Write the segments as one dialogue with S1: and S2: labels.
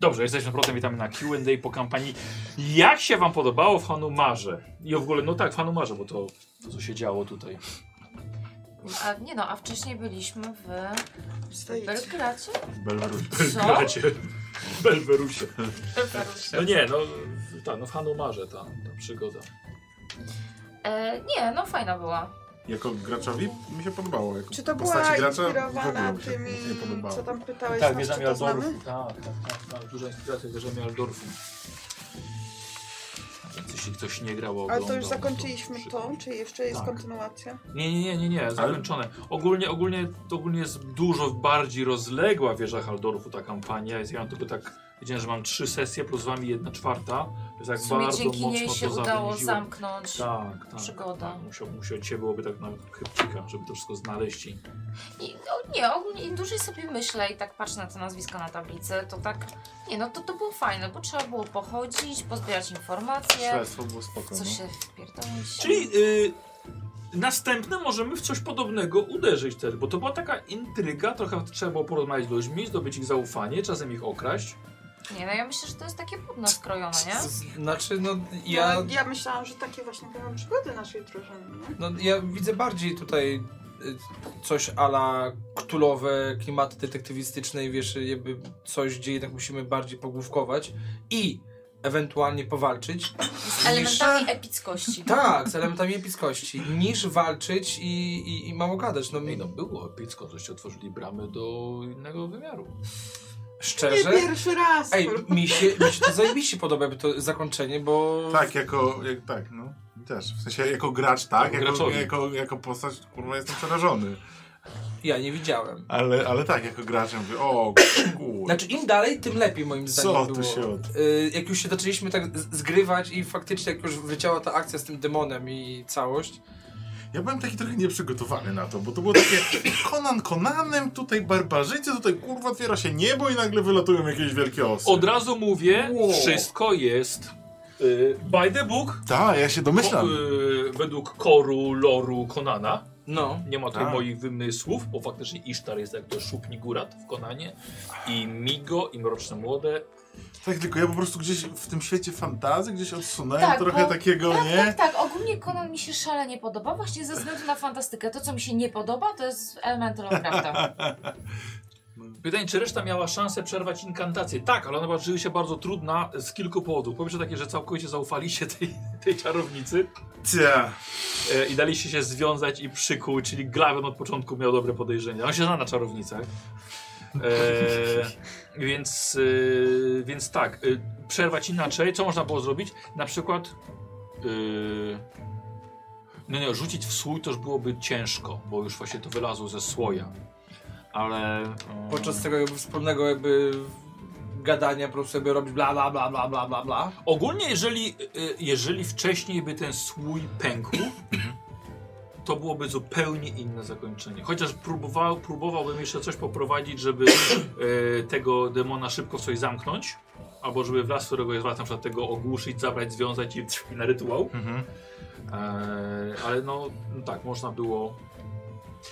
S1: Dobrze, jesteśmy powrotem, witamy na Q&A po kampanii. Jak się wam podobało w Hanumarze? I w ogóle, no tak, w Hanumarze, bo to, to co się działo tutaj.
S2: A, nie no, a wcześniej byliśmy w Tak. Belgracie?
S1: W Belwerusie.
S2: Co?
S1: W Belwerusie.
S2: Belgracie.
S1: No nie, no, w- ta, no w Hanumarze ta, ta przygoda.
S2: E, nie, no fajna była.
S3: Jako graczowi mi się podobało. Jako
S4: Czy to była
S3: postaci gracza w
S4: inspirowana
S3: ogóle mi się
S4: tymi,
S3: nie podobało.
S4: co tam pytałeś
S1: Tak,
S4: nas, czy
S1: wieżami
S4: to znamy?
S1: Aldorfu. Tak, tak, tak, tak. Duża inspiracja wieżami Aldorfu. Więc jeśli ktoś nie grał, oglądał...
S4: Ale to już
S1: no
S4: zakończyliśmy
S1: przykro.
S4: to, czy jeszcze jest
S1: Tak.
S4: kontynuacja?
S1: Nie, nie, nie, nie, nie, zakończone. Ogólnie, ogólnie, to ogólnie jest dużo bardziej rozległa wieża Haldorfu ta kampania. Jest, ja mam tylko tak, wiedziałem, że mam trzy sesje, plus z wami jedna czwarta. Więc tak
S2: W sumie
S1: bardzo
S2: dzięki
S1: mocno
S2: niej się
S1: to
S2: udało
S1: zawięziłem.
S2: zamknąć.
S1: Tak, tak.
S2: przygodę.
S1: Tak. Musiał, musiał, dzisiaj byłoby tak nawet chybcika, żeby to wszystko znaleźć. I...
S2: I, no, nie, ogólnie im dłużej sobie myślę i tak patrzę na te nazwiska na tablicy, to tak, nie no, to, to było fajne, bo trzeba było pochodzić, pozbierać informacje,
S3: Śledztwo było spoko.
S2: co
S3: no.
S2: się wpierdolić.
S1: Czyli y, następne możemy w coś podobnego uderzyć też, bo to była taka intryga, trochę trzeba było porozmawiać z ludźmi, zdobyć ich zaufanie, czasem ich okraść.
S2: Nie no, ja myślę, że to jest takie brudno skrojone, nie?
S5: Znaczy, no
S4: Ja...
S5: ja,
S4: ja myślałam, że takie właśnie będą przygody naszej drużyny, nie?
S5: no ja widzę bardziej tutaj y, coś ala ktulowe, klimaty detektywistyczne i wiesz, jakby coś dzieje, tak musimy bardziej pogłówkować i ewentualnie powalczyć.
S2: Z elementami epickości.
S5: Tak, z elementami epickości, niż walczyć i, i, i mało gadać. No, mi,
S1: Ej, no było epicko, żeście otworzyli bramy do innego wymiaru.
S5: szczerze,
S4: Nie pierwszy raz!
S5: ej,
S4: kurwa.
S5: mi się, mi się to zajebiście podoba jakby to zakończenie, bo...
S3: Tak, jako, jak, tak, no. Mi Też. W sensie jako gracz, tak?
S1: Jako
S3: Jako,
S1: graczowi.
S3: jako, jako postać, kurwa, jestem przerażony.
S5: Ja nie widziałem.
S3: Ale, ale tak, jako gracz ja mówię, o kurwa.
S5: Znaczy im dalej, tym lepiej moim zdaniem
S3: Co
S5: było.
S3: tu się od...
S5: Y, jak już się zaczęliśmy tak z- zgrywać i faktycznie jak już wleciała ta akcja z tym demonem i całość,
S3: Ja byłem taki trochę nieprzygotowany na to, bo to było takie Conan Conanem, tutaj barbarzyńcy, tutaj kurwa otwiera się niebo i nagle wylatują jakieś wielkie osy.
S1: Od razu mówię,
S3: Wow.
S1: wszystko jest y, by the book,
S3: Tak, ja się
S1: po,
S3: domyślam.
S1: y, według koru, loru Konana.
S5: no.
S1: Nie ma tutaj
S3: Tak.
S1: moich wymysłów, bo faktycznie Isztar jest jak to szupni górat w Konanie i Migo i Mroczne Młode.
S3: Tak, tylko ja po prostu gdzieś w tym świecie fantazji gdzieś odsunąłem
S2: Tak,
S3: trochę
S2: bo-
S3: takiego,
S2: Tak,
S3: nie?
S2: tak, tak. Ogólnie Conan mi się szalenie podoba, właśnie ze względu na fantastykę. To, co mi się nie podoba, to jest element Lovecrafta.
S1: Pytanie, czy reszta miała szansę przerwać inkantację? Tak, ale ona była rzeczywiście bardzo trudna z kilku powodów. Po pierwsze takie, że całkowicie zaufaliście tej, tej czarownicy
S3: Cia.
S1: e, i daliście się związać i przykuł, czyli Glaven od początku miał dobre podejrzenia. On się zna na czarownicach. E, więc, e, więc tak, e, przerwać inaczej. Co można było zrobić? Na przykład e, no nie, rzucić w słój to już byłoby ciężko, bo już właśnie to wylazło ze słoja. Ale... e,
S5: Podczas tego jakby wspólnego jakby gadania po prostu jakby robić bla bla bla bla bla bla bla.
S1: Ogólnie, jeżeli, y, jeżeli wcześniej by ten słój pękł, to byłoby zupełnie inne zakończenie. Chociaż próbował, próbowałbym jeszcze coś poprowadzić, żeby y, tego demona szybko w coś zamknąć. Albo żeby w las, którego jest was, na przykład tego ogłuszyć, zabrać, związać i, i na rytuał.
S3: Mhm.
S1: Eee, ale no, no tak, można było.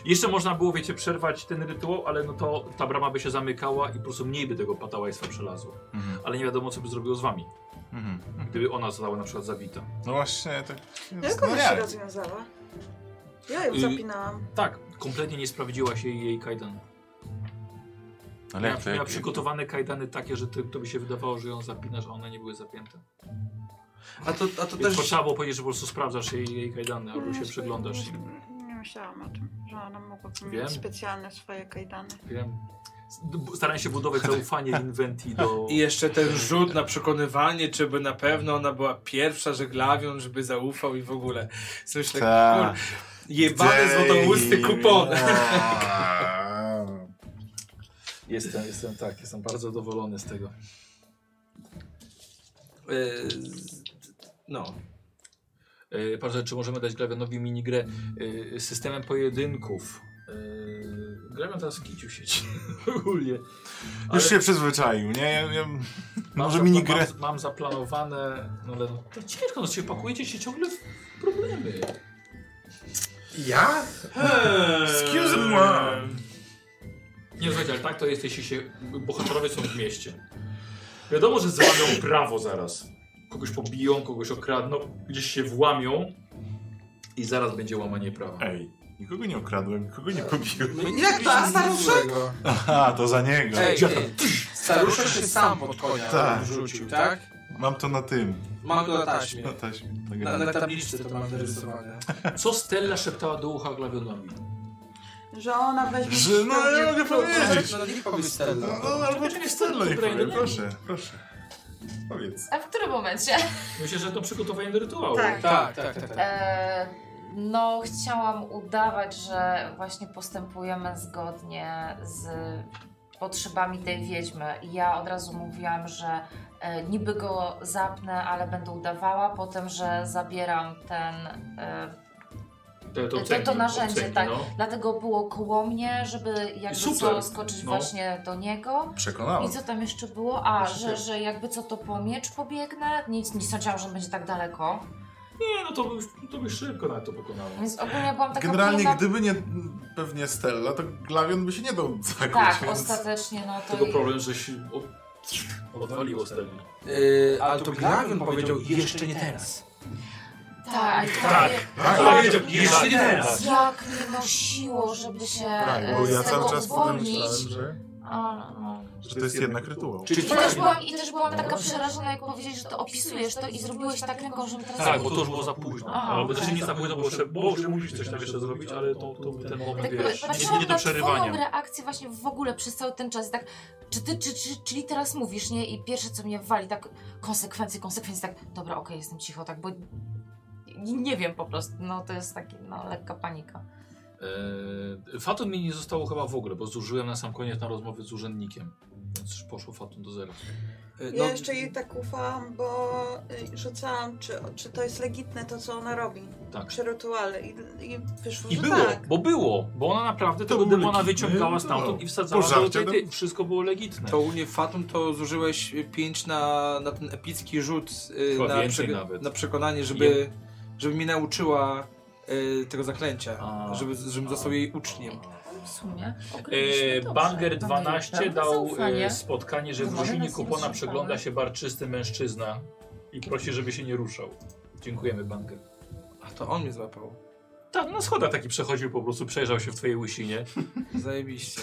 S1: Jeszcze można było, wiecie, przerwać ten rytuał, ale no to ta brama by się zamykała i po prostu mniej by tego patałajstwa przelazło.
S3: Mhm.
S1: Ale nie wiadomo, co by zrobiło z wami,
S3: Mhm.
S1: gdyby ona została na przykład zabita.
S3: No właśnie, tak.
S2: No
S4: Jak
S1: no
S4: ona się
S3: jak?
S4: rozwiązała? Ja ją
S1: Y-
S4: zapinałam.
S1: Tak, kompletnie nie sprawdziła się jej kajdan.
S3: Ale
S1: Miała,
S3: jak to,
S1: miała
S3: jak,
S1: przygotowane kajdany takie, że to, to by się wydawało, że ją zapinasz, a one nie były zapięte.
S5: A to, a to
S1: Więc
S5: też...
S1: trzeba było powiedzieć, że po prostu sprawdzasz jej, jej kajdany albo się przeglądasz im.
S4: Mm, znaczy, Nie myślałam o tym, że ona mogłaby
S1: Wiem.
S4: mieć specjalne swoje kajdany.
S1: Wiem. Starałem się budować zaufanie Inventi do...
S5: I jeszcze ten rzut na przekonywanie, czy by na pewno ona była pierwsza, że Glawion, żeby zaufał i w ogóle. Myślę,
S3: Tak.
S5: kur... Jebany złotogłusty kupon.
S3: Eee.
S1: Jestem, jestem tak, jestem bardzo zadowolony z tego.
S3: e,
S5: Y, z- No.
S1: E, Proszę, czy możemy dać Glawianowi minigrę e, systemem pojedynków? E, Glawian teraz kicił sieci ogólnie. Ale-
S3: Już się przyzwyczaił, nie? Ja, ja... Może
S1: zapla-
S3: minigrę.
S1: Mam, mam zaplanowane, no ale no, to ciężko, no się pakujecie się ciągle w problemy.
S3: Ja? Excuse me.
S1: Nie słuchajcie, ale tak to jest, jeśli się bohaterowie są w mieście. Wiadomo, że złamią prawo zaraz. Kogoś pobiją, kogoś okradną, gdzieś się włamią i zaraz będzie łamanie prawa.
S3: Ej, nikogo nie okradłem, nikogo nie pobiłem.
S5: Jak
S4: ta staruszek?
S5: staruszek?
S3: Aha, to za niego.
S5: Ej, ej, staruszek się sam pod konia
S3: Tak.
S5: rzucił, tak?
S3: Mam to na tym,
S5: Mam go na taśmie.
S3: na taśmie. tak
S5: Na, na tabliczce to mam narysowane.
S1: Co Stella szeptała do ucha Glawionowi?
S4: Że ona weźmie...
S3: Że no, ja mogę powiedzieć.
S5: No nie powiedz
S3: No,
S5: Stella.
S3: no albo nie Stella niech
S1: Dobra,
S3: powie,
S1: no.
S3: proszę, proszę. Powiedz.
S2: A w którym momencie?
S1: Myślę, że to przygotowanie do rytuału.
S4: Tak.
S5: Tak, tak, tak. tak.
S2: E, no, chciałam udawać, że właśnie postępujemy zgodnie z potrzebami tej wiedźmy. I Ja od razu mówiłam, że e, niby go zapnę, ale będę udawała, potem, że zabieram ten. E,
S1: Te,
S2: To- to narzędzie, tak.
S1: no.
S2: dlatego było koło mnie, żeby jakby co
S1: Super,
S2: skoczyć
S1: no.
S2: właśnie do niego. I
S3: Przekonałem.
S2: co tam jeszcze było? A,
S1: Właśnie
S2: że,
S1: tak.
S2: że jakby co to po miecz pobiegnę? Nic, nie sądziłam, że będzie tak daleko.
S1: Nie, no to by, to by szybko na to pokonało.
S2: Więc ogólnie byłam taka
S3: Generalnie,
S2: pilna-
S3: gdyby nie pewnie Stella, to Glawion by się nie dał zakuć.
S2: Tak,
S3: więc...
S2: ostatecznie no to...
S1: Tylko
S2: i-
S1: problem, że się od... odwaliło Stelli.
S5: Yy, ale to Glawion powiedział jeszcze nie teraz.
S2: Tak,
S1: Tak.
S3: Tak,
S1: Jeszcze nie teraz!
S2: Jak mnie nosiło, żeby się
S3: tak,
S2: tak,
S3: bo
S2: z
S3: ja
S2: tego
S3: cały czas potem
S2: uwolnić.
S3: myślałem, że,
S2: A, no.
S3: że to jest jednak rytuał.
S5: Czyli
S2: I też, byłam, I też byłam taka przerażona, jak powiedziałeś, że to opisujesz to i zrobiłeś tak ręką, żebym teraz...
S1: Tak, bo to już było za późno.
S2: Aha,
S1: Albo
S2: okej.
S1: też nie za późno, bo jeszcze, bo jeszcze musisz coś tam jeszcze zrobić, ale to, to był ten
S3: No
S1: moment,
S2: Tak,
S1: wiesz, nie,
S2: patrzyłam
S1: nie do
S2: na twoją
S1: przerywania.
S2: reakcję właśnie w ogóle przez cały ten czas, tak, czy ty, czy, czy, czyli teraz mówisz, nie? I pierwsze, co mnie wali, tak, konsekwencje, konsekwencje, tak, dobra, okej, jestem cicho, tak, bo nie, nie wiem po prostu, no to jest taki, no, lekka panika.
S1: Eee, Fatun mi nie zostało chyba w ogóle, bo zużyłem na sam koniec na rozmowy z urzędnikiem. Więc już poszło Fatun do zera.
S5: Yy,
S4: Ja jeszcze jej tak ufałam, bo y, rzucałam, czy, czy to jest legitne to, co ona robi
S1: Tak.
S4: przy rytuale i, i wyszło,
S1: I
S4: że
S1: było,
S4: tak.
S1: bo było, bo ona naprawdę
S3: To
S1: tego
S3: był
S1: demona
S3: legitny,
S1: wyciągała
S3: no.
S1: stamtąd i wsadzała do
S3: Pożarcie,
S1: tej,
S3: no.
S1: tej, wszystko było legitne.
S5: To u mnie Fatum to zużyłeś 5 na, na ten epicki rzut y,
S1: Chyba
S5: na,
S1: więcej
S5: przeg-
S1: nawet.
S5: na przekonanie, żeby, żeby mnie nauczyła y, tego zaklęcia,
S1: A.
S5: żeby, żebym został jej uczniem.
S2: W sumie,
S1: E,
S2: określiśmy
S1: Banger
S2: dobrze.
S1: 12
S2: Mamy
S1: dał
S2: zaufanie.
S1: e, spotkanie, że w
S2: Może nas
S1: drużynie
S2: nie
S1: kupona
S2: zaufamy.
S1: przegląda się barczysty mężczyzna i prosi, żeby się nie ruszał. Dziękujemy, Banger.
S5: A to on mnie złapał.
S1: Tak, na schodach taki przechodził po prostu, przejrzał się w twojej łysinie.
S5: Zajebiście.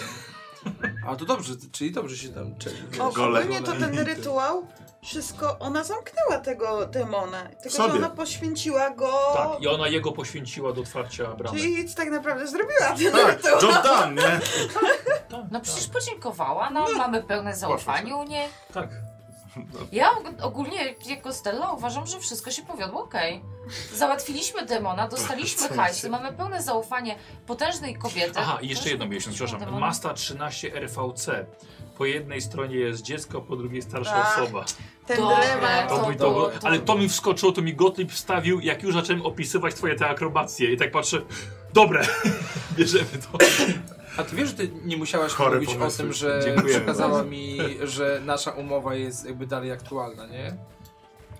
S5: A to dobrze, czyli dobrze się tam czeli.
S4: O,
S3: Gole.
S4: ogólnie to ten rytuał, wszystko, ona zamknęła tego demona,
S3: W
S4: tylko
S3: sobie.
S4: że ona poświęciła go,
S1: Tak, i ona jego poświęciła do otwarcia bramy.
S4: czyli nic tak naprawdę zrobiła ten
S3: Tak,
S4: rytuał.
S3: Jordan, nie?
S1: Tak,
S2: No przecież podziękowała nam,
S1: No,
S2: mamy pełne zaufanie u niej.
S1: tak.
S2: Ja og- ogólnie jako Stella uważam, że wszystko się powiodło okej. Załatwiliśmy demona, dostaliśmy
S3: Co
S2: hajs,
S3: się-
S2: mamy pełne zaufanie potężnej kobiety.
S1: Aha, i jeszcze
S2: Potężnej
S1: jedno mieliśmy,
S2: potężnego
S1: przepraszam.
S2: demona.
S1: Masta 13 RVC. Po jednej stronie jest dziecko, po drugiej starsza
S4: Tak.
S1: osoba.
S4: Ten
S2: Dobra.
S4: dylemat.
S1: To,
S2: To-
S1: mi- to,
S5: to-
S1: to, ale to mi wskoczyło, to mi Gottlieb wstawił, jak już zacząłem opisywać twoje te akrobacje. I tak patrzę, dobre, bierzemy to.
S5: A ty wiesz, że ty nie musiałaś
S3: Chore
S5: mówić o
S3: pomysły.
S5: tym, że
S3: Dziękujemy
S5: przekazała mi, że nasza umowa jest jakby dalej aktualna, nie?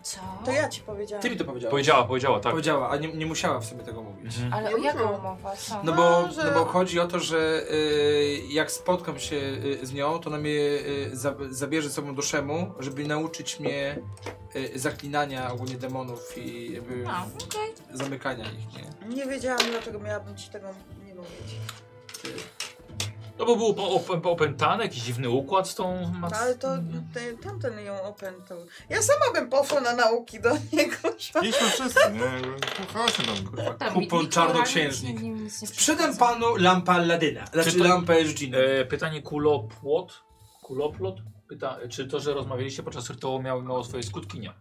S2: Co?
S4: To ja ci powiedziałam.
S5: Ty mi to powiedziałaś.
S1: Powiedziała, powiedziała, tak.
S5: Powiedziała, a nie, nie musiała w sobie tego mówić.
S1: Mhm.
S2: Ale
S4: Ja
S2: o jaką
S4: mówię.
S2: umowę? Co?
S5: No bo,
S4: No, że-
S5: no bo chodzi o to, że y, jak spotkam się y, z nią, to ona mnie y, za, zabierze ze sobą do Szemu, żeby nauczyć mnie y, zaklinania ogólnie demonów i jakby
S2: A, okej.
S5: zamykania ich, nie?
S4: Nie wiedziałam, dlaczego miałabym ci tego nie mówić.
S1: No bo był po- op- opętany, jakiś dziwny układ z tą
S4: No,
S1: mac...
S4: ale to te, tamten ją opętał. Ja sama bym poszła na nauki do niego.
S3: Jedźmy wszyscy, nie? Chodź tam.
S2: Tam
S5: Kupon
S2: nikt- nikt
S5: czarnoksiężnik.
S2: moralnie nic- nic nie
S5: Sprzedam
S2: przeszkadza.
S5: panu lampę Alladyna, znaczy
S1: Czy to-
S5: lampę Elżdżina.
S1: E, pytanie kulopłot. Kuloplot? Pyta, czy to, że rozmawialiście podczas rytuału miało, miało swoje skutki? Nie.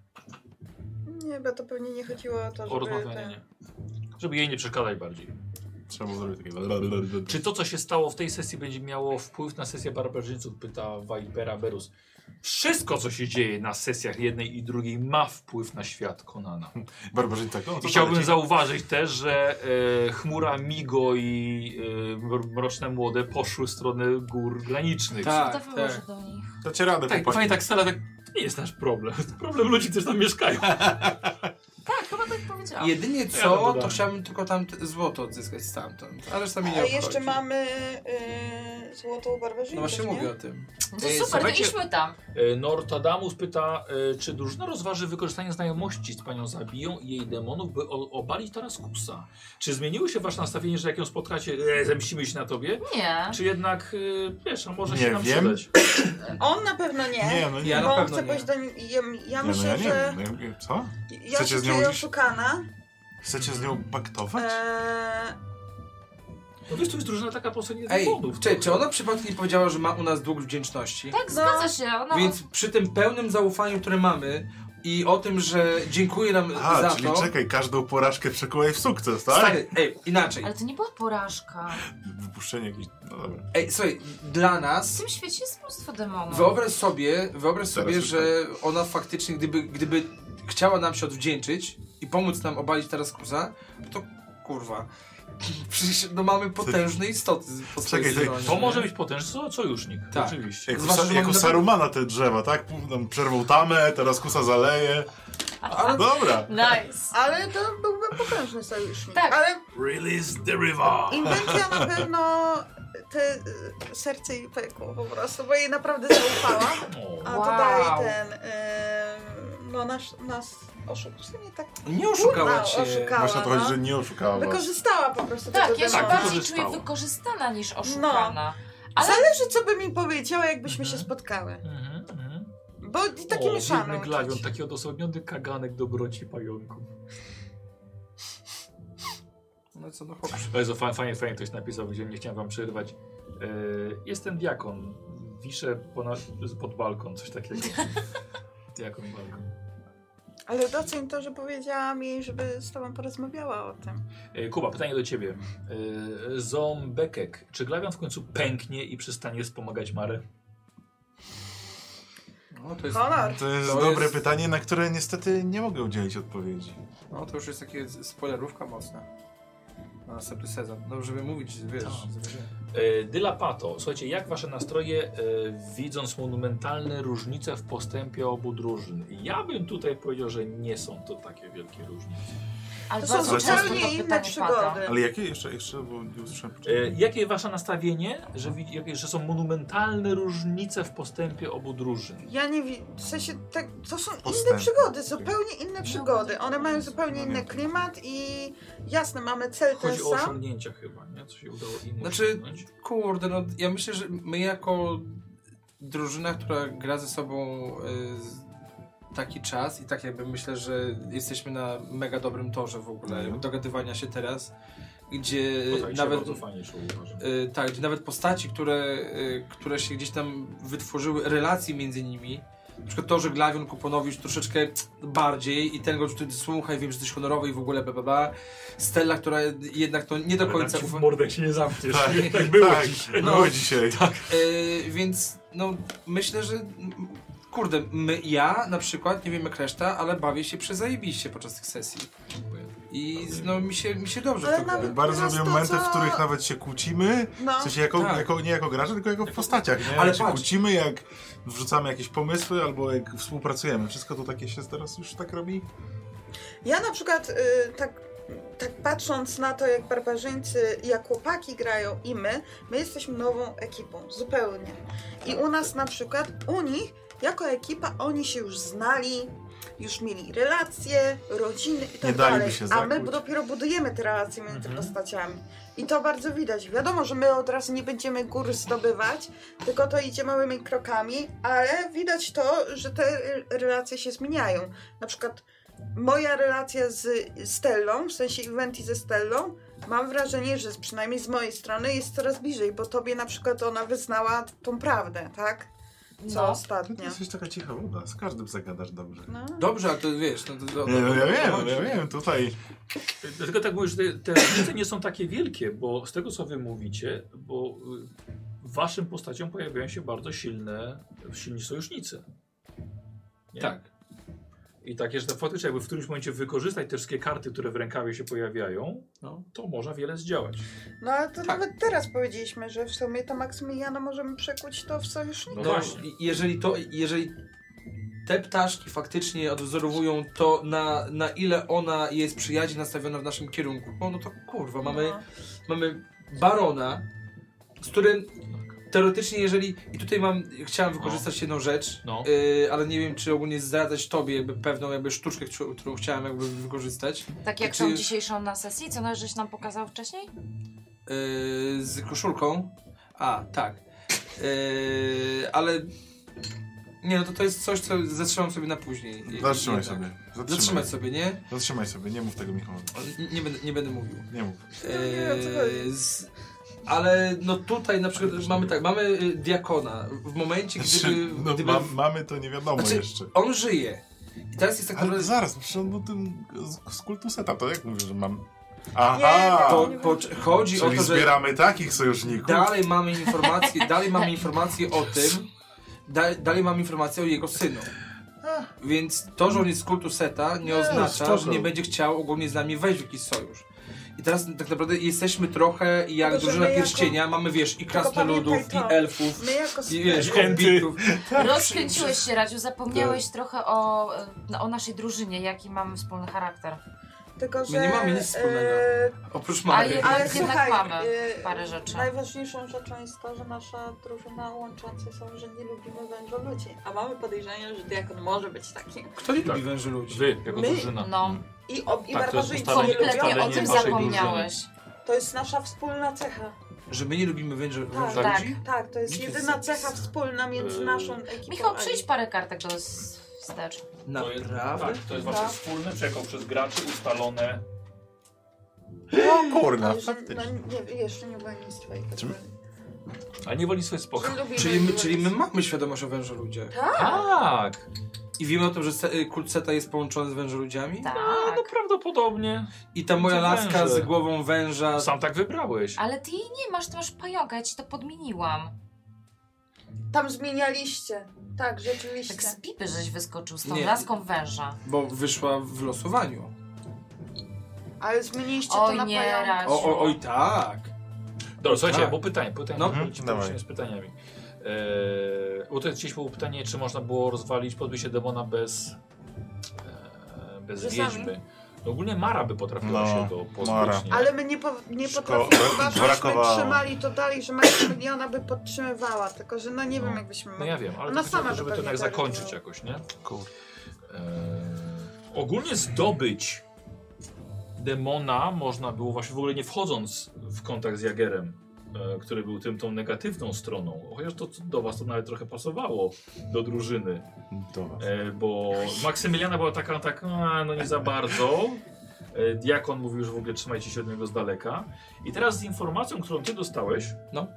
S4: Nie, bo to pewnie nie chodziło o to, żeby...
S1: O rozmawianie nie. Żeby jej nie przeszkadzać bardziej.
S3: Trzeba było zrobić takie...
S1: Czy to, co się stało w tej sesji, będzie miało wpływ na sesję barbarzyńców? Pyta Vipera Berus. Wszystko, co się dzieje na sesjach jednej i drugiej, ma wpływ na świat Konana.
S3: Barbarzyń tak, no,
S1: I
S3: to
S1: chciałbym
S3: poleci.
S1: zauważyć też, że e, chmura Migo i e, mro- mroczne młode poszły w stronę gór granicznych.
S5: Tak,
S2: To
S5: tak.
S2: wyłożę do nich.
S3: Dacie radę,
S1: Tak,
S3: chłopaki.
S1: fajnie tak stara, tak. To nie jest nasz problem. To problem ludzi, którzy tam mieszkają.
S2: Tak, chyba tak powiedziałam.
S5: Jedynie
S1: Ja bym
S5: co,
S1: dodał.
S5: to chciałbym tylko tam t- złoto odzyskać stamtąd, ale reszta mnie nie
S4: A
S5: obchodzi.
S4: jeszcze mamy y, złotą barbarzyńców,
S5: No właśnie
S4: nie?
S5: mówię o tym.
S2: No to
S1: Ej,
S2: super, to
S1: słuchajcie-
S2: idźmy tam.
S1: E, Nortadamus pyta, e, czy drużyna rozważy wykorzystanie znajomości z panią zabiją i jej demonów, by o- obalić Taraskusa. Czy zmieniło się wasze nastawienie, że jak ją spotkacie, e, zemścimy się na tobie?
S5: Tak.
S2: Nie.
S1: Czy jednak, e, wiesz, a może
S3: Nie
S1: się nam
S3: wiem.
S1: przydać?
S4: On na pewno nie.
S3: Nie, no nie.
S5: Ja
S4: bo
S5: na
S4: on
S5: pewno
S4: chce
S5: nie.
S4: pójść do nim. Ja, ja
S3: nie,
S4: myślę,
S3: no ja nie
S4: że.
S3: wiem. No, ja- Co?
S4: Ja
S3: Chcecie
S4: się
S3: z nią
S4: czuję
S3: gdzieś-
S4: oszukana.
S3: Chcecie z nią paktować?
S4: Eee,
S1: No wiesz, to jest drużyna taka po no. nie
S5: Ej,
S1: demonów.
S5: czy, czy ona przypadkiem nie powiedziała, że ma u nas dług wdzięczności?
S4: No.
S2: Tak, zgadza się. Ona
S5: Więc przy tym pełnym zaufaniu, które mamy i o tym, że dziękuję nam
S3: A,
S5: za
S3: czyli
S5: to...
S3: czekaj, każdą porażkę przekułaj w sukces, tak?
S5: Stary, ej, inaczej.
S2: Ale to nie była porażka.
S3: Wypuszczenie jakiejś... No dobra.
S5: Ej, słuchaj, dla
S2: W
S5: nas...
S2: tym świecie jest mnóstwo demonów.
S5: Wyobraź sobie, wyobraź sobie,
S3: już
S5: że ona faktycznie, gdyby, gdyby chciała nam się odwdzięczyć i pomóc nam obalić Taraskusa, to kurwa... Przecież no, mamy potężne istoty po swojej
S3: Czekaj,
S5: stronie,
S1: To
S5: nie?
S1: może być potężny so- sojusznik,
S5: Tak.
S1: oczywiście.
S3: Jak, u,
S5: Zwłaszcza,
S3: Sa-
S5: że
S3: jak u
S5: mamy do-
S3: Sarumana te drzewa, tak? Pół- Tam przerwał tamę, teraz kusa zaleje.
S5: Ale-
S3: Dobra.
S2: Nice.
S4: ale to byłby potężny sojusznik.
S2: Tak.
S4: Ale
S1: Release the river!
S4: inwencja na pewno te y, serce i pykło po prostu, bo jej naprawdę zaufała.
S1: O.
S4: A
S2: Wow.
S4: tutaj ten. y, no nas, nas oszukał. W sumie tak.
S5: Nie oszukała
S4: Kurwa,
S5: cię.
S4: oszukała.
S3: Masz na to chodzi,
S4: no.
S3: że nie oszukała was.
S4: Wykorzystała po prostu
S2: Tak, No.
S4: tego
S2: ja się
S1: Tak,
S4: demona.
S2: bardziej
S1: wykorzystała.
S2: czuję wykorzystana niż oszukana. Ale
S4: Zależy, co by mi powiedziała, jakbyśmy się
S1: Mhm.
S4: spotkały.
S1: Mhm, mhm.
S4: Bo i taki
S1: O, tak. biedny
S4: mieszany.
S1: glawion, taki odosobniony kaganek dobroci pająków.
S5: No co, no chłopcze.
S1: Bardzo fa- fajnie, fajnie ktoś napisał, gdzie nie chciałem wam przerywać. E, jestem diakon. Wiszę ponad, pod balkon, coś takiego. diakon balkon.
S4: Ale doceń to, że powiedziałam jej, żeby z tobą porozmawiała o tym.
S1: E, Kuba, pytanie do ciebie. E, Zombekek, czy Glawion w końcu pęknie i przestanie wspomagać Marę?
S5: No to, jest,
S4: Honor.
S3: To jest
S5: To
S3: dobre
S5: jest-
S3: pytanie, na które niestety nie mogę udzielić odpowiedzi.
S5: no to już jest takie z- spoilerówka mocna. Na następny sezon. No żeby mówić, wiesz.
S1: Tak.
S5: żeby-
S1: E, Dylapato, słuchajcie, jak wasze nastroje e, widząc monumentalne różnice w postępie obu drużyn? Ja bym tutaj powiedział, że nie są to takie wielkie różnice.
S2: ale
S4: To są
S2: bardzo często
S4: zupełnie
S2: to
S4: inne
S2: pytanie pada.
S4: przygody.
S3: Ale jakie jeszcze, jeszcze, bo nie usłyszałem.
S1: E, jakie wasze nastawienie, że, wi- jakie, że są monumentalne różnice w postępie obu drużyn?
S4: Ja nie wiem, w sensie tak, to są
S3: Postępy.
S4: inne przygody, zupełnie
S2: No,
S4: inne przygody. One mają zupełnie inny klimat i jasne, mamy cel ten
S1: Chodzi o
S4: sam.
S1: osiągnięcia chyba, nie? Co się udało innym
S5: Znaczy-
S1: osiągnąć.
S5: Kurde, no ja myślę, że my jako drużyna, która gra ze sobą y, z- taki czas i tak jakby myślę, że jesteśmy na mega dobrym torze w ogóle
S3: Mhm.
S5: dogadywania się teraz, gdzie
S1: Bo tak się
S5: nawet
S1: bardzo fajnie czuł, uważam.
S5: Y, tak, gdzie nawet postaci, które, y, które się gdzieś tam wytworzyły, relacji między nimi. Na przykład to, że Glawion Kuponowicz troszeczkę bardziej i ten go tutaj słuchaj, wiem, że jesteś honorowy i w ogóle bla, bla, bla. Stella, która jednak to nie do końca
S1: w
S5: ufa.
S1: mordek się nie zamkniesz.
S3: Tak,
S1: tak było
S3: tak,
S1: dzisiaj.
S3: Było dzisiaj.
S5: Y, więc no myślę, że mm, kurde, my, ja na przykład, nie wiem jak reszta, ale bawię się przezajebiście podczas tych sesji. I no mi się, mi się dobrze
S4: Ale
S5: w to gra.
S4: nawet-
S3: Bardzo
S4: Teraz
S3: lubię
S4: to,
S3: momenty, w
S4: co-
S3: których nawet się kłócimy.
S4: No,
S3: W sensie jako,
S5: Tak.
S3: jako, nie jako gracze, tylko jako w postaciach, nie?
S5: Ale
S3: jak się
S5: patrz.
S3: kłócimy, jak wrzucamy jakieś pomysły, albo jak współpracujemy. Wszystko to takie się teraz już tak robi.
S4: ja na przykład y, tak, tak patrząc na to, jak barbarzyńcy, jak chłopaki grają i my, my jesteśmy nową ekipą, zupełnie. I u nas na przykład, u nich, jako ekipa, oni się już znali, już mieli relacje, rodziny i tak
S3: Nie daliby
S4: dalej.
S3: się
S4: a my
S3: zakłuć.
S4: dopiero budujemy te relacje między
S1: Mhm.
S4: postaciami. I to bardzo widać. Wiadomo, że my od razu nie będziemy gór zdobywać, tylko to idzie małymi krokami, ale widać to, że te re- relacje się zmieniają. Na przykład moja relacja z Stellą, w sensie eventy ze Stellą, mam wrażenie, że z- przynajmniej z mojej strony jest coraz bliżej, bo tobie na przykład ona wyznała tą prawdę, tak? Co
S2: No.
S3: Ty to
S4: ostatnio.
S3: jesteś taka cicha woda, z każdym zagadasz dobrze.
S4: No.
S5: Dobrze, ale to wiesz, no to, to,
S3: Nie, no ja
S5: to
S3: wiem,
S5: chodzi.
S3: ja wiem, tutaj.
S1: Dlatego tak mówisz, że te- te różnice nie są takie wielkie, bo z tego co wy mówicie, bo y, waszym postaciom pojawiają się bardzo silne, silni sojusznicy. Nie?
S5: Tak.
S1: I takie, że faktycznie jakby w którymś momencie wykorzystać te wszystkie karty, które w rękawie się pojawiają,
S5: No.
S1: to można wiele zdziałać.
S4: no ale to
S5: Tak.
S4: nawet teraz powiedzieliśmy, że w sumie to Maksymiliana no, możemy przekuć to w sojusznika.
S1: No
S5: No,
S1: właśnie.
S5: i- jeżeli to, jeżeli te ptaszki faktycznie odwzorowują to, na, na ile ona jest przyjaźnie nastawiona w naszym kierunku, no, no to kurwa, mamy,
S4: No.
S5: mamy barona, z którym teoretycznie jeżeli, i tutaj mam, chciałem wykorzystać jedną rzecz,
S1: No.
S5: y, ale nie wiem czy ogólnie zdradzać tobie jakby pewną jakby sztuczkę, którą, którą chciałem jakby wykorzystać,
S2: Tak jak
S5: Czy-
S2: tą dzisiejszą na sesji, co żeś nam pokazał wcześniej?
S5: y, z koszulką. A, tak. Y, ale nie, no to to jest coś, co zatrzymam sobie na później.
S3: Zatrzymaj
S5: Jednak.
S3: sobie. Zatrzymaj.
S5: tak. Zatrzymać sobie, nie?
S3: Zatrzymaj sobie, nie mów tego Michałowi.
S5: N- Nie będę, nie będę mówił.
S3: Nie mów.
S4: No nie, o co chodzi?
S5: Eee, z, ale no tutaj na przykład mamy tak, mamy y, diakona. W momencie,
S3: Znaczy,
S5: gdyby...
S3: no,
S5: gdyby
S3: mam- mamy to nie wiadomo
S5: Znaczy-
S3: jeszcze.
S5: On żyje. I teraz jest tak
S3: Ale
S5: naprawdę...
S3: zaraz, przecież on o tym z, z kultu seta, to jak mówię, że mam...
S4: Nie,
S3: Aha!
S4: nie,
S5: Po,
S4: nie.
S5: po, no. chodzi o
S3: Czyli
S5: to, że
S3: zbieramy takich sojuszników.
S5: dalej mamy informacje, dalej mamy informacje o tym, da, dalej mamy informacje o jego synu. Więc to, że on jest z kultu Seta, nie oznacza, że
S3: spoko.
S5: nie będzie chciał ogólnie z nami wejść w jakiś sojusz. I teraz tak naprawdę jesteśmy trochę jak
S4: Tylko, że
S5: drużyna
S4: my jako-
S5: pierścienia, mamy wiesz, i
S4: Tylko
S5: krasnoludów, i
S4: pamiętaj to.
S5: elfów,
S4: My jako
S5: i wiesz,
S3: Enty.
S5: hobbitów.
S3: Tak,
S2: Rozkręciłeś się, Radziu, zapomniałeś trochę o, e, no, o naszej drużynie, jaki mamy wspólny charakter.
S4: Tylko, że...
S5: My nie mamy nic wspólnego.
S4: e,
S5: Oprócz
S2: A
S5: Mary.
S2: je-
S4: ale
S2: Jednak
S4: słuchaj,
S2: mamy
S4: e,
S2: parę rzeczy.
S4: Najważniejszą rzeczą jest to, że nasza drużyna łącząca są, że nie lubimy węża ludzi. A mamy podejrzenie, że diakon może być taki.
S5: Kto nie lubi węży ludzi?
S1: Wy, jako
S4: My?
S1: drużyna.
S2: No,
S4: I, ob, i
S1: Tak, to jest
S4: barbarzyńcy
S1: ustalenie-
S4: nie
S2: kompletnie
S4: lubią.
S2: o
S1: ustalenie
S2: tym
S1: waszej drużyny.
S2: zapomniałeś.
S4: To jest nasza wspólna cecha.
S5: Że my nie lubimy węży,
S4: Tak,
S5: węży
S2: tak.
S5: ludzi?
S4: Tak, to jest
S5: Gdzie to
S4: jedyna
S5: jest
S4: cecha
S5: zapisane?
S4: wspólna między
S5: Yy,
S1: Eee,
S4: naszą ekipą.
S2: Michał,
S4: a
S2: przyjdź
S4: nim.
S2: parę kartek do s- wstecz.
S1: To jest,
S5: Naprawdę?
S1: tak, to jest wasze
S4: Tak.
S1: wspólne, jako przez graczy ustalone.
S3: O kurna,
S4: Ale że- No,
S3: faktycznie.
S4: nie, jeszcze nie było nic twojego.
S3: Czy my-
S1: A nie woli swoje spoko.
S5: Czyli my, czyli my mamy świadomość o wężu ludziach.
S1: Tak,
S5: I wiemy o tym, że se- y, kult Seta jest połączony z wężu ludziami?
S2: Tak.
S1: A, no prawdopodobnie.
S5: I ta moja
S1: To
S5: laska
S1: węże.
S5: z głową węża...
S1: Sam tak wybrałeś.
S2: Ale ty jej nie masz, ty masz pająka, ja ci to podmieniłam. Tak
S4: Tam zmienialiście. Tak,
S2: Tak
S4: rzeczywiście.
S2: z pipy żeś wyskoczył z tą
S5: Nie.
S2: laską węża.
S5: Bo wyszła w losowaniu.
S4: Ale zmieniliście to
S2: Oj
S4: na
S2: nie,
S4: pająk.
S2: Radziu.
S5: O, o, oj tak.
S1: Dobra, słuchajcie,
S5: Tak.
S1: bo pytanie, pytanie,
S5: No.
S1: no, wróćmy
S3: Dawaj.
S1: wróćmy z pytaniami. Eee, bo to gdzieś było pytanie, czy można było rozwalić podbycie demona bez, eee, bez
S2: Że
S1: wiedźmy. No ogólnie Mara by potrafiła
S3: No,
S1: się to pozbyć,
S3: Mara.
S1: nie?
S4: Ale my nie, po, nie
S3: Szko-
S4: potrafimy, chyba żeśmy
S3: brakowało.
S4: trzymali to dalej, że Maximiliana by podtrzymywała, tylko że no nie
S1: No.
S4: wiem jak byśmy
S1: No ja wiem, ale
S4: Ona
S1: to chodzi o
S4: sama
S1: to, żeby
S4: by
S1: to
S4: pewnie
S1: jednak
S4: tak
S1: zakończyć
S4: robiła.
S1: jakoś, nie?
S3: Kur-
S1: Eee, ogólnie zdobyć demona można było właśnie w ogóle nie wchodząc w kontakt z Jagerem, e, który był tym tą negatywną stroną. Chociaż to do was to nawet trochę pasowało do drużyny.
S5: No.
S3: Dobra.
S1: E, bo Maksymiliana była taka, tak, a, no nie za bardzo. E, Diakon mówił, że w ogóle trzymajcie się od niego z daleka. I teraz z informacją, którą ty dostałeś,
S5: No.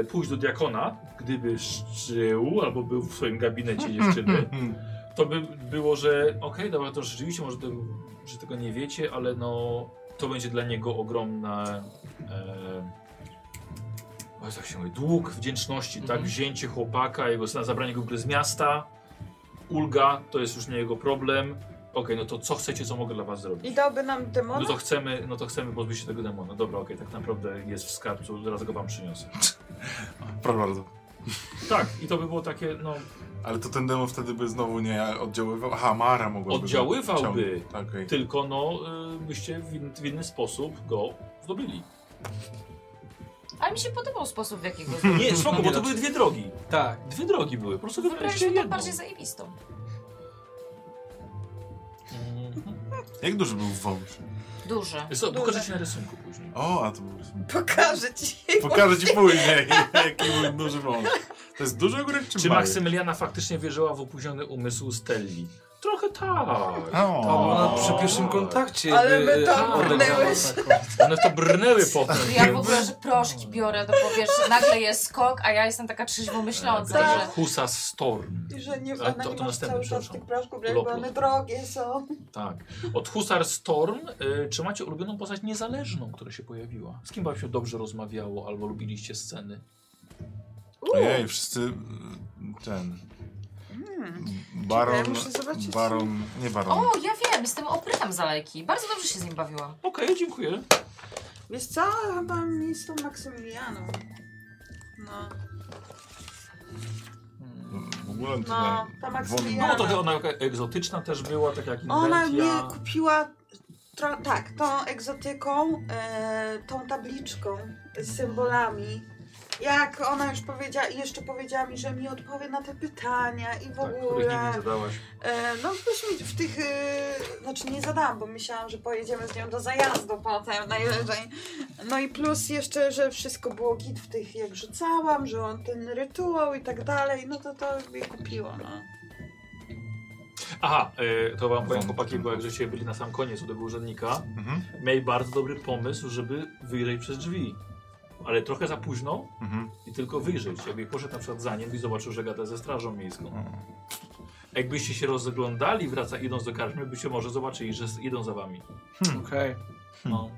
S1: e, pójść do Diakona, gdyby szczył albo był w swoim gabinecie dziewczyny,
S3: Hmm.
S1: to by było, że okej, dobra, to rzeczywiście może to, że tego nie wiecie, ale no to będzie dla niego ogromna. E, o, jak się mówi, dług wdzięczności,
S5: Mhm.
S1: tak? Wzięcie chłopaka, jego syna, zabranie go w ogóle z miasta, ulga, to jest już nie jego problem. Okej, no to co chcecie, co mogę dla was zrobić?
S4: I dałby nam demona?
S1: No to chcemy, no to chcemy pozbyć się tego demona. Dobra, okej, tak naprawdę jest w skarbcu, zaraz go wam przyniosę.
S3: Proszę bardzo.
S1: Tak, i to by było takie, no
S3: Ale to ten demon wtedy by znowu nie oddziaływał. Aha, Mara mogłaby.
S1: Oddziaływałby.
S3: Chciał- tak, Okej.
S1: Tylko no, y, byście w, in, w inny sposób go zdobyli.
S2: Ale mi się podobał sposób, w jaki go
S1: Nie, spoko, bo to były dwie drogi.
S5: Tak.
S1: Dwie drogi były, po prostu wybraliście
S2: Wybraliśmy tą
S1: jedną.
S2: bardziej zajebistą.
S1: Mhm.
S3: Jak duży był wąż?
S2: Duży.
S1: Wiesz co, Pokażę ci na rysunku później.
S3: O, a to był.
S4: Pokażę ci.
S3: Pokażę ci później, jaki był duży wąż. To jest duży ogórek czy
S1: Czy
S3: mały?
S1: Maksymiliana faktycznie wierzyła w opóźniony umysł Stelli? Trochę tak.
S3: O.
S5: To ona przy pierwszym kontakcie. y,
S4: Ale
S5: by-
S4: my tam
S5: a,
S4: brnęłeś.
S5: taką-
S1: One to brnęły potem.
S2: Ja w ogóle, że proszki biorę, to powiesz, nagle jest skok, a ja jestem taka trzeźwo myśląca,
S4: Tak.
S2: że...
S1: Husas Storm.
S4: I że nie,
S1: A,
S4: ona
S1: to-
S4: nie
S1: to
S4: ma
S1: następny,
S4: cały czas
S1: przepraszam.
S4: tych proszków, brać,
S1: Lot,
S4: bo one
S1: lot.
S4: drogie są.
S1: Tak. Od Husar Storm y, czy macie ulubioną postać niezależną, która się pojawiła? Z kim wam się dobrze rozmawiało albo lubiliście sceny?
S3: Ojej, wszyscy. mm, Ten. Baron.
S4: Czekaj, Hmm, muszę zobaczyć.
S3: Baron. Nie baron.
S2: O, ja wiem, jestem oprytem z alejki. Bardzo dobrze się z nim bawiłam.
S1: Okej, dziękuję.
S4: Wiesz co? Chyba mi z tą Maksymilianą. No.
S3: W ogóle to
S4: No,
S3: na-
S4: ta Maksymiliana.
S1: No trochę ona taka egzotyczna też była, tak jak
S4: Ona mnie
S1: Inventia.
S4: kupiła tro, tak, tą egzotyką, e, tą tabliczką z symbolami. Jak ona już powiedziała, i jeszcze powiedziała mi, że mi odpowie na te pytania i w
S1: tak,
S4: ogóle.
S1: których nigdy nie zadałaś.
S4: E, no weźmy w tych, e, znaczy nie zadałam, bo myślałam, że pojedziemy z nią do zajazdu potem najwyżej. No i plus jeszcze, że wszystko było git w tych jak rzucałam, że on ten rytuał i tak dalej, no to to mnie kupiło, no.
S1: Aha, e, to wam powiem chłopaki, bo jak żeście byli na sam koniec u tego urzędnika,
S3: Mhm,
S1: mieli bardzo dobry pomysł, żeby wyjrzeć przez drzwi. Ale trochę za późno
S3: mhm.
S1: i tylko wyjrzeć. Jakby poszedł na przykład za nim i zobaczył, że gada ze strażą miejską.
S3: Mhm.
S1: Jakbyście się rozglądali, wraca, idąc do karczmy, byście może zobaczyli, że s- idą za wami.
S3: Hmm.
S5: hmm, Okej.
S1: No.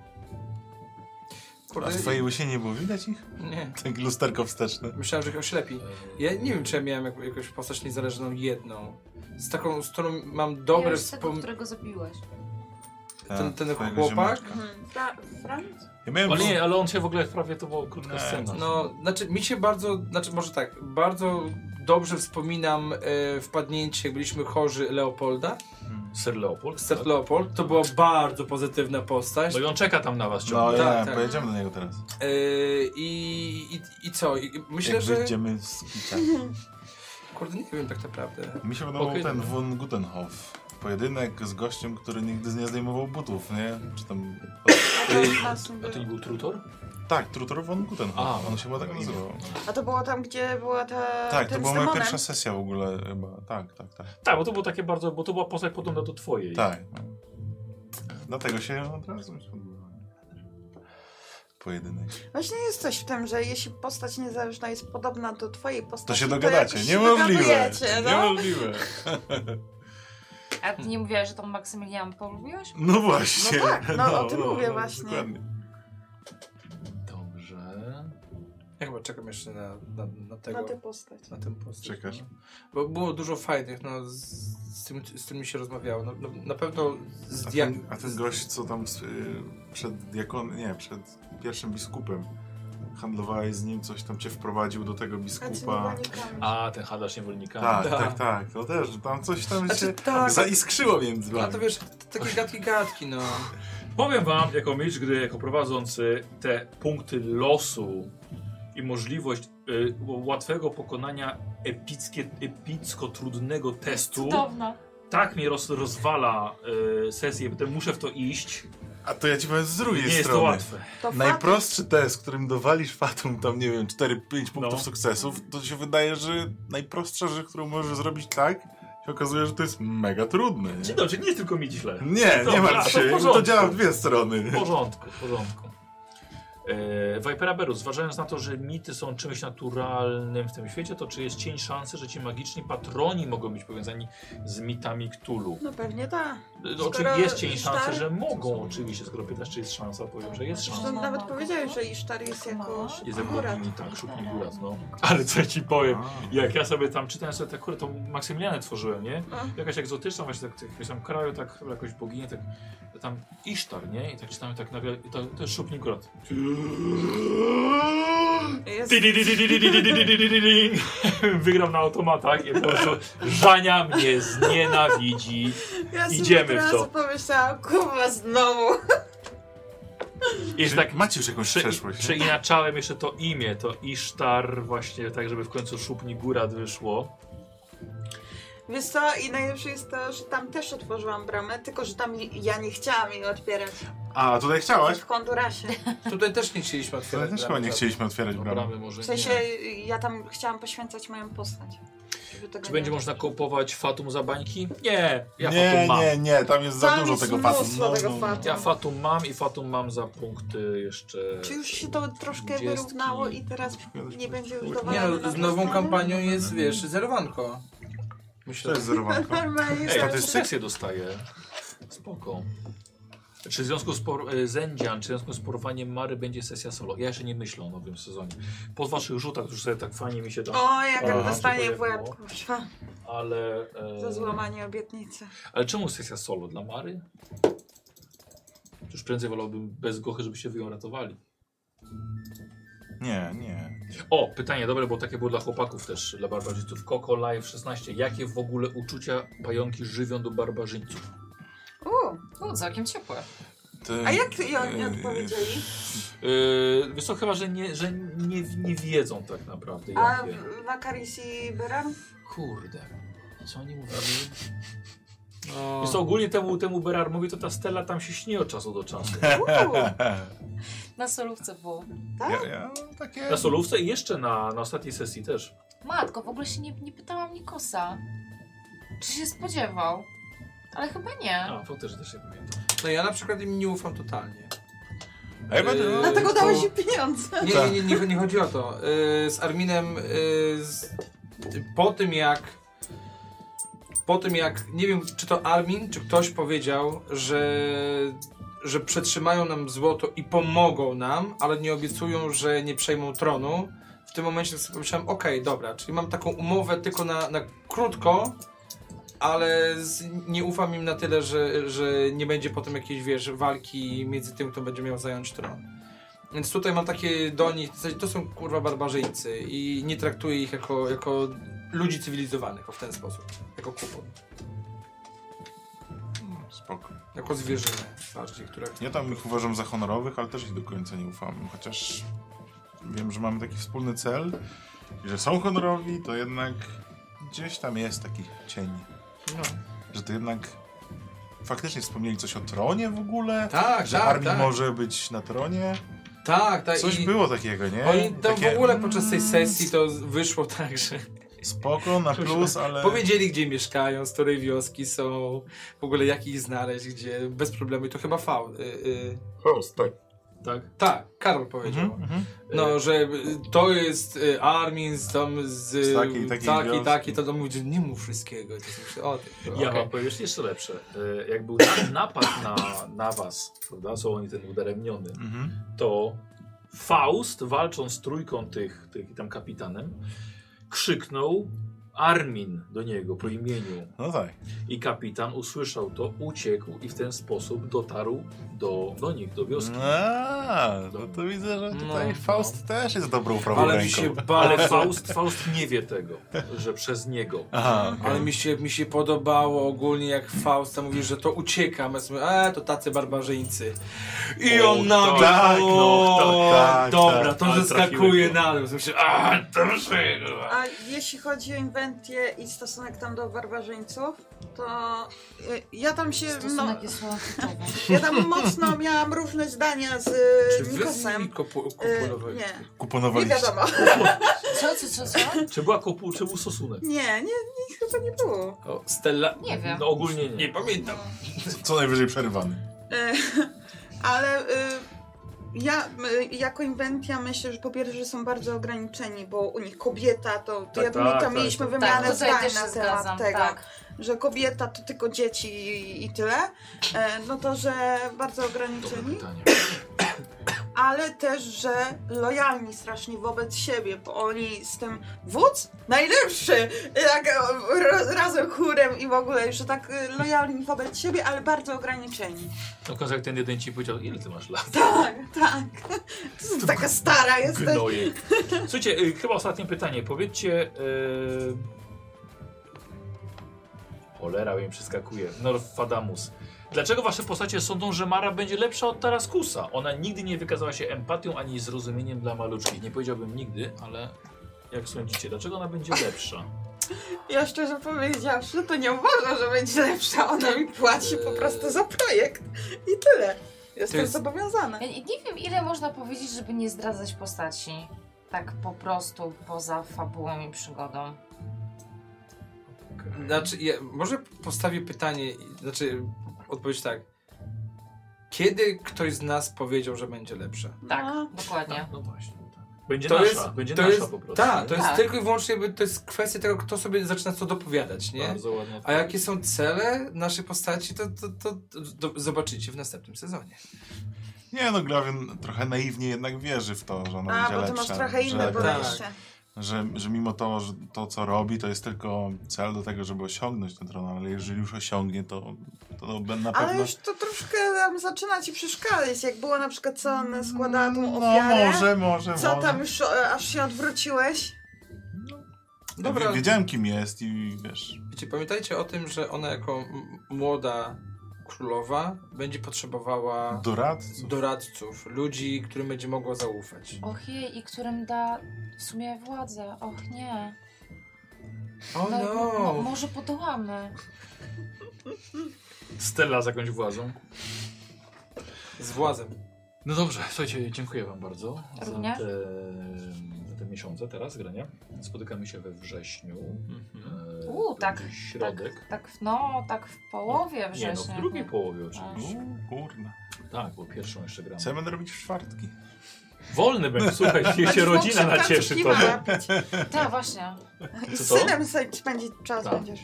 S3: A
S5: Kurde,
S3: w twojej łysie nie było widać ich?
S5: Nie.
S3: Tak lusterko wsteczne.
S5: Myślałem, że ich oślepi. Ja nie wiem, czy ja miałem jak- jakąś postać niezależną jedną. Z taką, z którą mam dobre
S2: Miałeś tego,
S5: wspomnienia.
S2: którego zabiłeś.
S5: Ten, ten
S3: Tak, twojego
S5: chłopak.
S3: ziomeczka.
S4: Fra Franz?
S3: Ja miałem
S1: Ale nie, ale on się w ogóle prawie to była krótka
S3: Nie,
S1: scena.
S5: No, znaczy mi się bardzo, znaczy może tak, bardzo dobrze wspominam e, wpadnięcie, jak byliśmy chorzy Leopolda,
S1: Sir Leopold.
S5: Sir Leopold, to była bardzo pozytywna postać.
S1: Tak. No i on czeka tam na was
S3: No,
S1: ciągle.
S3: ja,
S5: Tak, tak.
S3: pojedziemy do niego teraz.
S5: E, i, i, I co? I, i myślę,
S3: Jak
S5: że...
S3: wyjdziemy z kicia.
S5: Kurde, nie wiem tak naprawdę.
S3: Mi się podobał
S1: Okej,
S3: ten
S1: dobra.
S3: von Gutenhof. Pojedynek z gościem, który nigdy nie zdejmował butów, nie? Czy tam... O,
S4: A to, nas nie
S1: A to nie
S4: było.
S1: był Trutor?
S3: tak, Trutor von Gutenhof.
S1: A,
S3: on się chyba tak
S1: no.
S3: nazywał.
S4: A to było tam, gdzie była ta... ten
S3: Tak, to
S4: z
S3: była moja
S4: demonem?
S3: pierwsza sesja w ogóle chyba. Tak, tak, tak.
S1: Tak, bo to było takie bardzo, bo to była postać podobna do twojej.
S3: Tak. no. Dlatego się od razu mi się podobało. Pojedynek.
S4: Właśnie jest coś w tym, że jeśli postać niezależna jest podobna do twojej postaci,
S3: To się
S4: jakoś
S3: dogadacie.
S4: się
S3: Niemożliwe.
S4: dogadujecie, No?
S3: Niemożliwe.
S2: A ty nie mówiłaś, że tą Maksymilian polubiłaś?
S3: No właśnie.
S4: No tak, no, o tym mówię właśnie.
S3: dokładnie.
S1: Dobrze.
S5: Ja chyba czekam jeszcze na, na, na tego.
S4: Na
S5: Na,
S4: tę postać.
S5: tym postać.
S3: Czekasz?
S5: No. Bo było dużo fajnych, no z, z, tym, z tym mi się rozmawiało. No, no, na pewno z
S3: A
S5: dia-
S3: ten, a ten gość, co tam z, y, przed diakon, nie, przed pierwszym biskupem handlowałeś z nim, coś tam cię wprowadził do tego
S4: A ty
S3: biskupa.
S4: nie
S1: A, ten handlarz
S4: no,
S1: niewolnikami.
S3: Tak,
S5: Tak.
S3: tak, tak. To też, tam coś tam
S5: Znaczy,
S3: się
S5: tak.
S3: zaiskrzyło między
S5: No
S3: wami.
S5: to wiesz, t- takie gadki, gadki, no.
S1: Powiem wam, jako mistrz gry, jako prowadzący te punkty losu i możliwość y, łatwego pokonania epickie, epicko trudnego testu,
S2: Cudowna.
S1: tak mnie roz, rozwala y, sesję, potem muszę w to iść.
S3: A to ja ci powiem z
S1: Nie
S3: drugiej
S1: jest to
S3: strony.
S1: łatwe.
S4: To fakt,
S3: Najprostszy test, którym dowalisz Fatum tam, nie wiem, 4-5 punktów
S1: No.
S3: sukcesów, to się wydaje, że najprostsza rzecz, którą możesz zrobić tak, się okazuje, że to jest mega trudne. Nie,
S1: Dzień dobry, nie jest tylko mi źle.
S3: nie, nie
S1: Dobra, to
S3: martw
S1: w
S3: się, to
S1: porządku.
S3: działa w dwie strony.
S1: W porządku, w porządku. E, Vipera Beru, zważając na to, że mity są czymś naturalnym w tym świecie, to czy jest cień szansy, że ci magiczni patroni mogą być powiązani z mitami Cthulhu?
S4: No pewnie tak.
S1: No, czy
S4: Skoro
S1: jest cień
S4: Isztar-
S1: szansy, że mogą oczywiście, skoro pytasz, czy jest szansa, powiem, że jest
S4: Zresztą
S1: szansa.
S4: nawet powiedziałeś, że Isztar jest
S2: Mama.
S4: jako
S1: Jest
S4: akurat.
S1: jak tak, szukam górat, no. Ale co ci powiem, jak ja sobie tam czytałem sobie te kury, to Maksymilianę tworzyłem, nie?
S4: A.
S1: Jakaś egzotyczna właśnie, tak, w jakimś tam kraju, tak, chyba jakoś bogini, tak, tam Isztar, nie? I tak czytamy, tak nagle, i to, to jest szupnik górat.
S4: Jest...
S1: Tidididididididididididididididing. Wygram na automatach i po prostu Żania mnie znienawidzi.
S4: Ja
S1: Idziemy
S4: sobie
S1: w
S4: od razu
S1: to.
S4: pomyślałam, kurwa znowu.
S1: I
S3: Czy
S1: tak
S3: Macie już jakąś
S1: przy,
S3: przeszłość. nie?
S1: przeinaczałem jeszcze to imię, to Isztar właśnie tak, żeby w końcu szupni górat wyszło.
S4: Wiesz co, i najlepsze jest to, że tam też otworzyłam bramę, tylko że tam ja nie chciałam jej otwierać.
S3: A, tutaj chciałaś?
S4: W Hondurasie.
S5: Tutaj też nie chcieliśmy
S3: Ale
S5: otwierać.
S3: też chyba
S5: bram,
S3: nie
S5: tak.
S3: chcieliśmy otwierać
S1: No,
S3: bramy.
S1: bramy może
S4: W
S1: nie.
S4: sensie ja tam chciałam poświęcać moją postać. żeby tego
S1: Czy
S4: nie
S1: będzie
S4: robić.
S1: można kupować Fatum za bańki? Nie, ja
S3: nie,
S1: Fatum mam.
S3: nie, nie, tam jest za
S4: Tam
S3: dużo
S4: jest
S3: tego Fatum. No,
S4: mnóstwo tego Fatum.
S1: No, Ja Fatum mam i Fatum mam za punkty jeszcze...
S4: Czy już się to troszkę
S1: Dwudziestki.
S4: wyrównało i teraz nie będzie już
S5: Nie
S4: dowalane
S5: no,
S4: na
S5: z nową
S4: postawę?
S5: kampanią jest, wiesz, zerowanko.
S3: To
S5: Myślę,
S3: jest
S5: że
S3: zerowanko.
S4: Normalnie
S1: Ej,
S4: jest. tak
S1: ale sekcję dostaję. Spoko. Czy w związku z por- e, Zendzian, czy w związku z porowaniem Mary będzie sesja solo? Ja jeszcze nie myślę o nowym sezonie. Po waszych rzutach, już sobie tak fajnie mi się da,
S4: O, jak
S1: Aha.
S4: on dostanie w łeb,
S1: Pojechało.
S4: kurwa,
S1: ale...
S4: za
S1: E,
S4: złamanie obietnicy.
S1: ale czemu sesja solo? Dla Mary? Już prędzej wolałbym bez Gochy, żeby się wy ją ratowali.
S3: Nie, nie.
S1: O, pytanie dobre, bo takie było dla chłopaków też, dla barbarzyńców. Coco Live 16. Jakie w ogóle uczucia pająki żywią do barbarzyńców?
S4: Uuu,
S2: U, całkiem ciepłe.
S4: A jak, jak nie odpowiedzieli?
S1: Yy, wiesz co, chyba, że nie, że nie, nie wiedzą tak naprawdę.
S4: A
S1: Jakie.
S4: w- Wakaris i Beram?
S1: Kurde. Co oni mówili?
S5: No.
S1: Wiesz co, ogólnie temu, temu Berar mówi, to ta Stella tam się śni od czasu do czasu.
S4: Uuu,
S2: Na solówce było.
S4: tak?
S3: ja, ja takie...
S1: Na solówce i jeszcze na, na ostatniej sesji też.
S2: Matko, w ogóle się nie, nie pytałam Nikosa, czy się spodziewał. Ale chyba nie.
S1: A, to też, też się pamiętam.
S5: No ja na przykład im nie ufam totalnie.
S3: A ja będę...
S5: Yy,
S4: Dlatego
S5: to-
S4: dałeś im pieniądze.
S5: Nie,
S3: Tak.
S5: nie, nie, nie, nie chodzi o to. Y, Z Arminem y, z, po tym jak po tym jak nie wiem czy to Armin czy ktoś powiedział, że że przetrzymają nam złoto i pomogą nam, ale nie obiecują, że nie przejmą tronu. W tym momencie tak sobie pomyślałem, okej, dobra, czyli mam taką umowę tylko na, na krótko, ale z, nie ufam im na tyle, że, że nie będzie potem jakiejś, wiesz, walki między tym, kto będzie miał zająć tron. Więc tutaj mam takie do nich, w zasadzie to są kurwa barbarzyńcy i nie traktuję ich jako, jako ludzi cywilizowanych o, w ten sposób, jako kupon,
S3: Spoko.
S5: jako zwierzynę bardziej, która...
S3: Ja tam ich uważam za honorowych, ale też ich do końca nie ufam. Chociaż wiem, że mamy taki wspólny cel i że są honorowi, to jednak gdzieś tam jest taki cień.
S5: No.
S3: Że to jednak faktycznie wspomnieli coś o tronie w ogóle.
S5: Tak,
S3: że
S5: tak,
S3: armii
S5: tak,
S3: może być na tronie.
S5: tak, tak.
S3: Coś
S5: i
S3: było takiego, nie?
S5: Oni tam
S3: Takie mm,
S5: w ogóle podczas tej sesji to z- wyszło tak, że
S3: Spoko, na plus, ale...
S5: powiedzieli gdzie mieszkają, z której wioski są, w ogóle jak ich znaleźć, gdzie, bez problemu i to chyba fał. Y, y,
S6: Host, tak.
S1: Tak?
S5: tak, Karol powiedział.
S3: Mhm, mhm.
S5: No, że y, to jest y, Armin z tam z y,
S3: Z takiej, takiej
S5: taki,
S3: wiązki.
S5: taki, to tam mówi, że nie mów wszystkiego. To myślę, o, ty,
S1: Ja
S5: okej.
S1: wam powiem jeszcze- jeszcze lepsze. E, Jak był na- napad na, na was, prawda, są oni ten udaremniony,
S3: Mhm.
S1: to Faust, walcząc z trójką tych, tych tam kapitanem, krzyknął Armin do niego po imieniu.
S3: No tak.
S1: I kapitan usłyszał to, uciekł i w ten sposób dotarł do, do nich, do
S3: No,
S1: wioski.
S3: A, no to widzę, że tutaj
S5: No,
S3: Faust też jest dobrą prawą
S5: Ale mi
S3: ręką.
S5: się
S1: Ale
S5: bardzo,
S1: Faust, Faust nie wie tego, że przez niego.
S3: Aha,
S5: ale mi się, mi się podobało ogólnie jak Fausta mówi, że to ucieka. My sobie, e, to tacy barbarzyńcy. I
S1: O,
S5: on na
S1: tak,
S5: mnie,
S3: tak, no,
S5: o,
S3: tak, tak,
S5: Dobra,
S3: tak,
S5: to
S1: ale
S5: zeskakuje
S1: trafiłeś,
S5: na dół. Myślę, a, dobrze.
S4: A jeśli chodzi o inwentję i stosunek tam do barbarzyńców, to y, ja tam się. No,
S2: Stosunek jest słowo
S4: ja tam mocno miałam różne zdania z y,
S5: Czy wy z nimi
S4: Nikosem.
S5: kopu,
S4: Y,
S5: kupulowali?
S4: Nie, nie
S3: kuponowaliście.
S4: wiadomo.
S2: Co, co, co, co?
S1: Czy była kopu, czy był stosunek?
S4: Nie, nie, nie, chyba nie było.
S5: O, Stella.
S2: Nie wiem.
S1: No ogólnie nie.
S5: Nie
S3: Tak.
S5: pamiętam.
S3: Co- Co najwyżej przerywany.
S4: E, Ale y, ja y, jako inwentia myślę, że po pierwsze są bardzo ograniczeni, bo u nich kobieta to. to
S1: Tak,
S4: ja, my
S1: tak,
S4: tam
S1: tak,
S4: mieliśmy
S1: tak.
S4: wymianę
S2: Tak, tutaj
S4: zdań
S2: też
S4: na
S2: się
S4: temat
S2: zgadzam.
S4: tego.
S2: Tak.
S4: Że kobieta to tylko dzieci i, i tyle, e, no to że bardzo
S1: Dobre
S4: ograniczeni,
S1: pytanie.
S4: ale też, że lojalni strasznie wobec siebie, bo oni z tym wódz najlepszy, jak e, ro- razem chórem i w ogóle, że tak e, lojalni wobec siebie, ale bardzo ograniczeni.
S1: No kozak ten jeden ci powiedział, ile ty masz lat?
S4: Tak, tak. Jestem taka stara jestem.
S1: Gnojek. Słuchajcie, y, chyba ostatnie pytanie. Powiedzcie... Yy... Cholera, mi przeskakuje. Norfadamus. Dlaczego wasze postacie sądzą, że Mara będzie lepsza od Taraskusa? Ona nigdy nie wykazała się empatią ani zrozumieniem dla maluczkich. Nie powiedziałbym nigdy, ale jak sądzicie, dlaczego ona będzie lepsza?
S4: Ja szczerze powiedziawszy, to nie uważam, że będzie lepsza. Ona mi płaci po prostu za projekt. I tyle. Jestem
S5: jest-
S4: zobowiązana.
S2: Ja nie wiem, ile można powiedzieć, żeby nie zdradzać postaci. Tak po prostu, poza fabułą i przygodą.
S5: Znaczy, ja może postawię pytanie, znaczy odpowiedź tak. Kiedy ktoś z nas powiedział, że będzie lepsza?
S2: Tak,
S4: No.
S2: dokładnie.
S1: No właśnie. tak. Będzie
S5: To
S1: nasza,
S5: jest-
S1: będzie
S5: to
S1: nasza
S5: jest-
S1: po prostu.
S5: Tak, to jest
S2: Tak.
S5: tylko i wyłącznie, jakby to jest kwestia tego, kto sobie zaczyna co dopowiadać, nie?
S1: Bardzo ładna
S5: A jakie są cele naszej postaci, to, to, to, to, to zobaczycie w następnym sezonie.
S3: Nie no, Glavin trochę naiwnie jednak wierzy w to, że ona
S4: A,
S3: będzie
S4: bo ty
S3: lepsza.
S4: masz trochę inne
S3: że,
S1: Tak.
S4: podejście.
S3: że, że mimo to, że to co robi, to jest tylko cel do tego, żeby osiągnąć ten tron, ale jeżeli już osiągnie, to, to na pewno...
S4: Ale już to troszkę tam zaczyna ci przeszkadzać. Jak było na przykład, co ona składała tą
S3: No
S4: ofiarę.
S3: może, może,
S4: Co
S3: może.
S4: tam już e, aż się odwróciłeś?
S5: Dobra.
S3: Dobra. Wiedziałem kim jest i wiesz...
S5: Wiecie, pamiętajcie o tym, że ona jako m- młoda królowa będzie potrzebowała
S3: Doradców.
S5: doradców, ludzi, którym będzie mogła zaufać.
S2: Och jej, i którym da w sumie władzę. Och nie.
S5: O
S2: No, mo-
S5: no!
S2: może podołamy.
S1: Stella z jakąś władzą.
S5: Z władzem.
S1: No dobrze, słuchajcie, dziękuję wam bardzo za
S2: Również.
S1: te, za te miesiące teraz grania. Spotykamy się we wrześniu. E, to
S2: U, tak,
S1: będzie
S2: Tak,
S1: Środek.
S2: tak, w- no, tak w połowie
S1: Nie no,
S2: września.
S1: w drugiej połowie oczywiście.
S3: U, Kurna.
S1: Tak, bo pierwszą jeszcze gramy.
S3: Co ja będę robić w czwartki?
S1: Wolny będzie, słuchaj, jeśli się
S4: Będziesz mógł
S1: rodzina
S4: Znaczy, no, przed
S1: nacieszy
S4: placówki
S1: to.
S4: napić.
S2: Tak, właśnie.
S4: I
S1: Czy
S4: z
S1: to?
S4: synem sobie spędzić czas
S1: Tak.
S4: będziesz.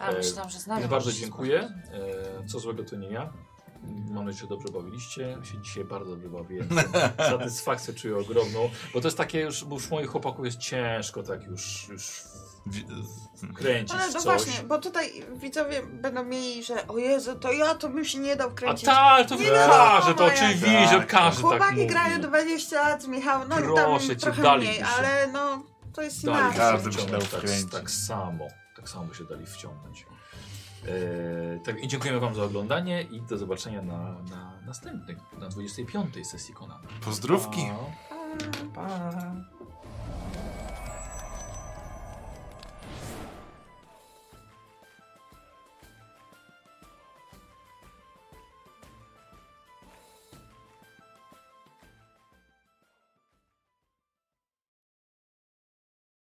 S2: A
S1: E,
S2: myślałam, że znamy.
S1: Ja bardzo dziękuję. E, Co złego to nie ja. Mam nadzieję, że dobrze bawiliście. Ja Się dzisiaj bardzo dobrze bawiłem. Satysfakcję czuję ogromną. Bo to jest takie już, bo już moich chłopaków jest ciężko tak już, już
S3: Wi-
S1: kręcić
S4: Ale
S1: w
S4: no
S1: coś.
S4: właśnie, bo tutaj widzowie będą mieli, że o Jezu, to ja to bym się nie dał
S1: A
S4: wkręcić.
S1: tak, to
S4: Nie
S1: nie
S4: no,
S1: każdy, to
S4: moja-
S1: oczywiście,
S3: Tak.
S1: każdy tak
S4: Chłopaki
S1: mówi.
S4: grają 20 lat z Michałem, no
S1: Proszę cię,
S4: tam trochę
S1: daliśmy
S4: mniej,
S1: się.
S4: ale no to jest
S1: Dali
S4: inaczej.
S1: się
S3: Każdy by się
S1: wciągnąć,
S3: dał
S1: tak,
S3: wkręcić.
S1: tak samo, tak samo się dali wciągnąć. E, tak, i dziękujemy wam za oglądanie i do zobaczenia na, na następnej, na 25 sesji Konana.
S3: Pozdrówki.
S5: Pa. pa.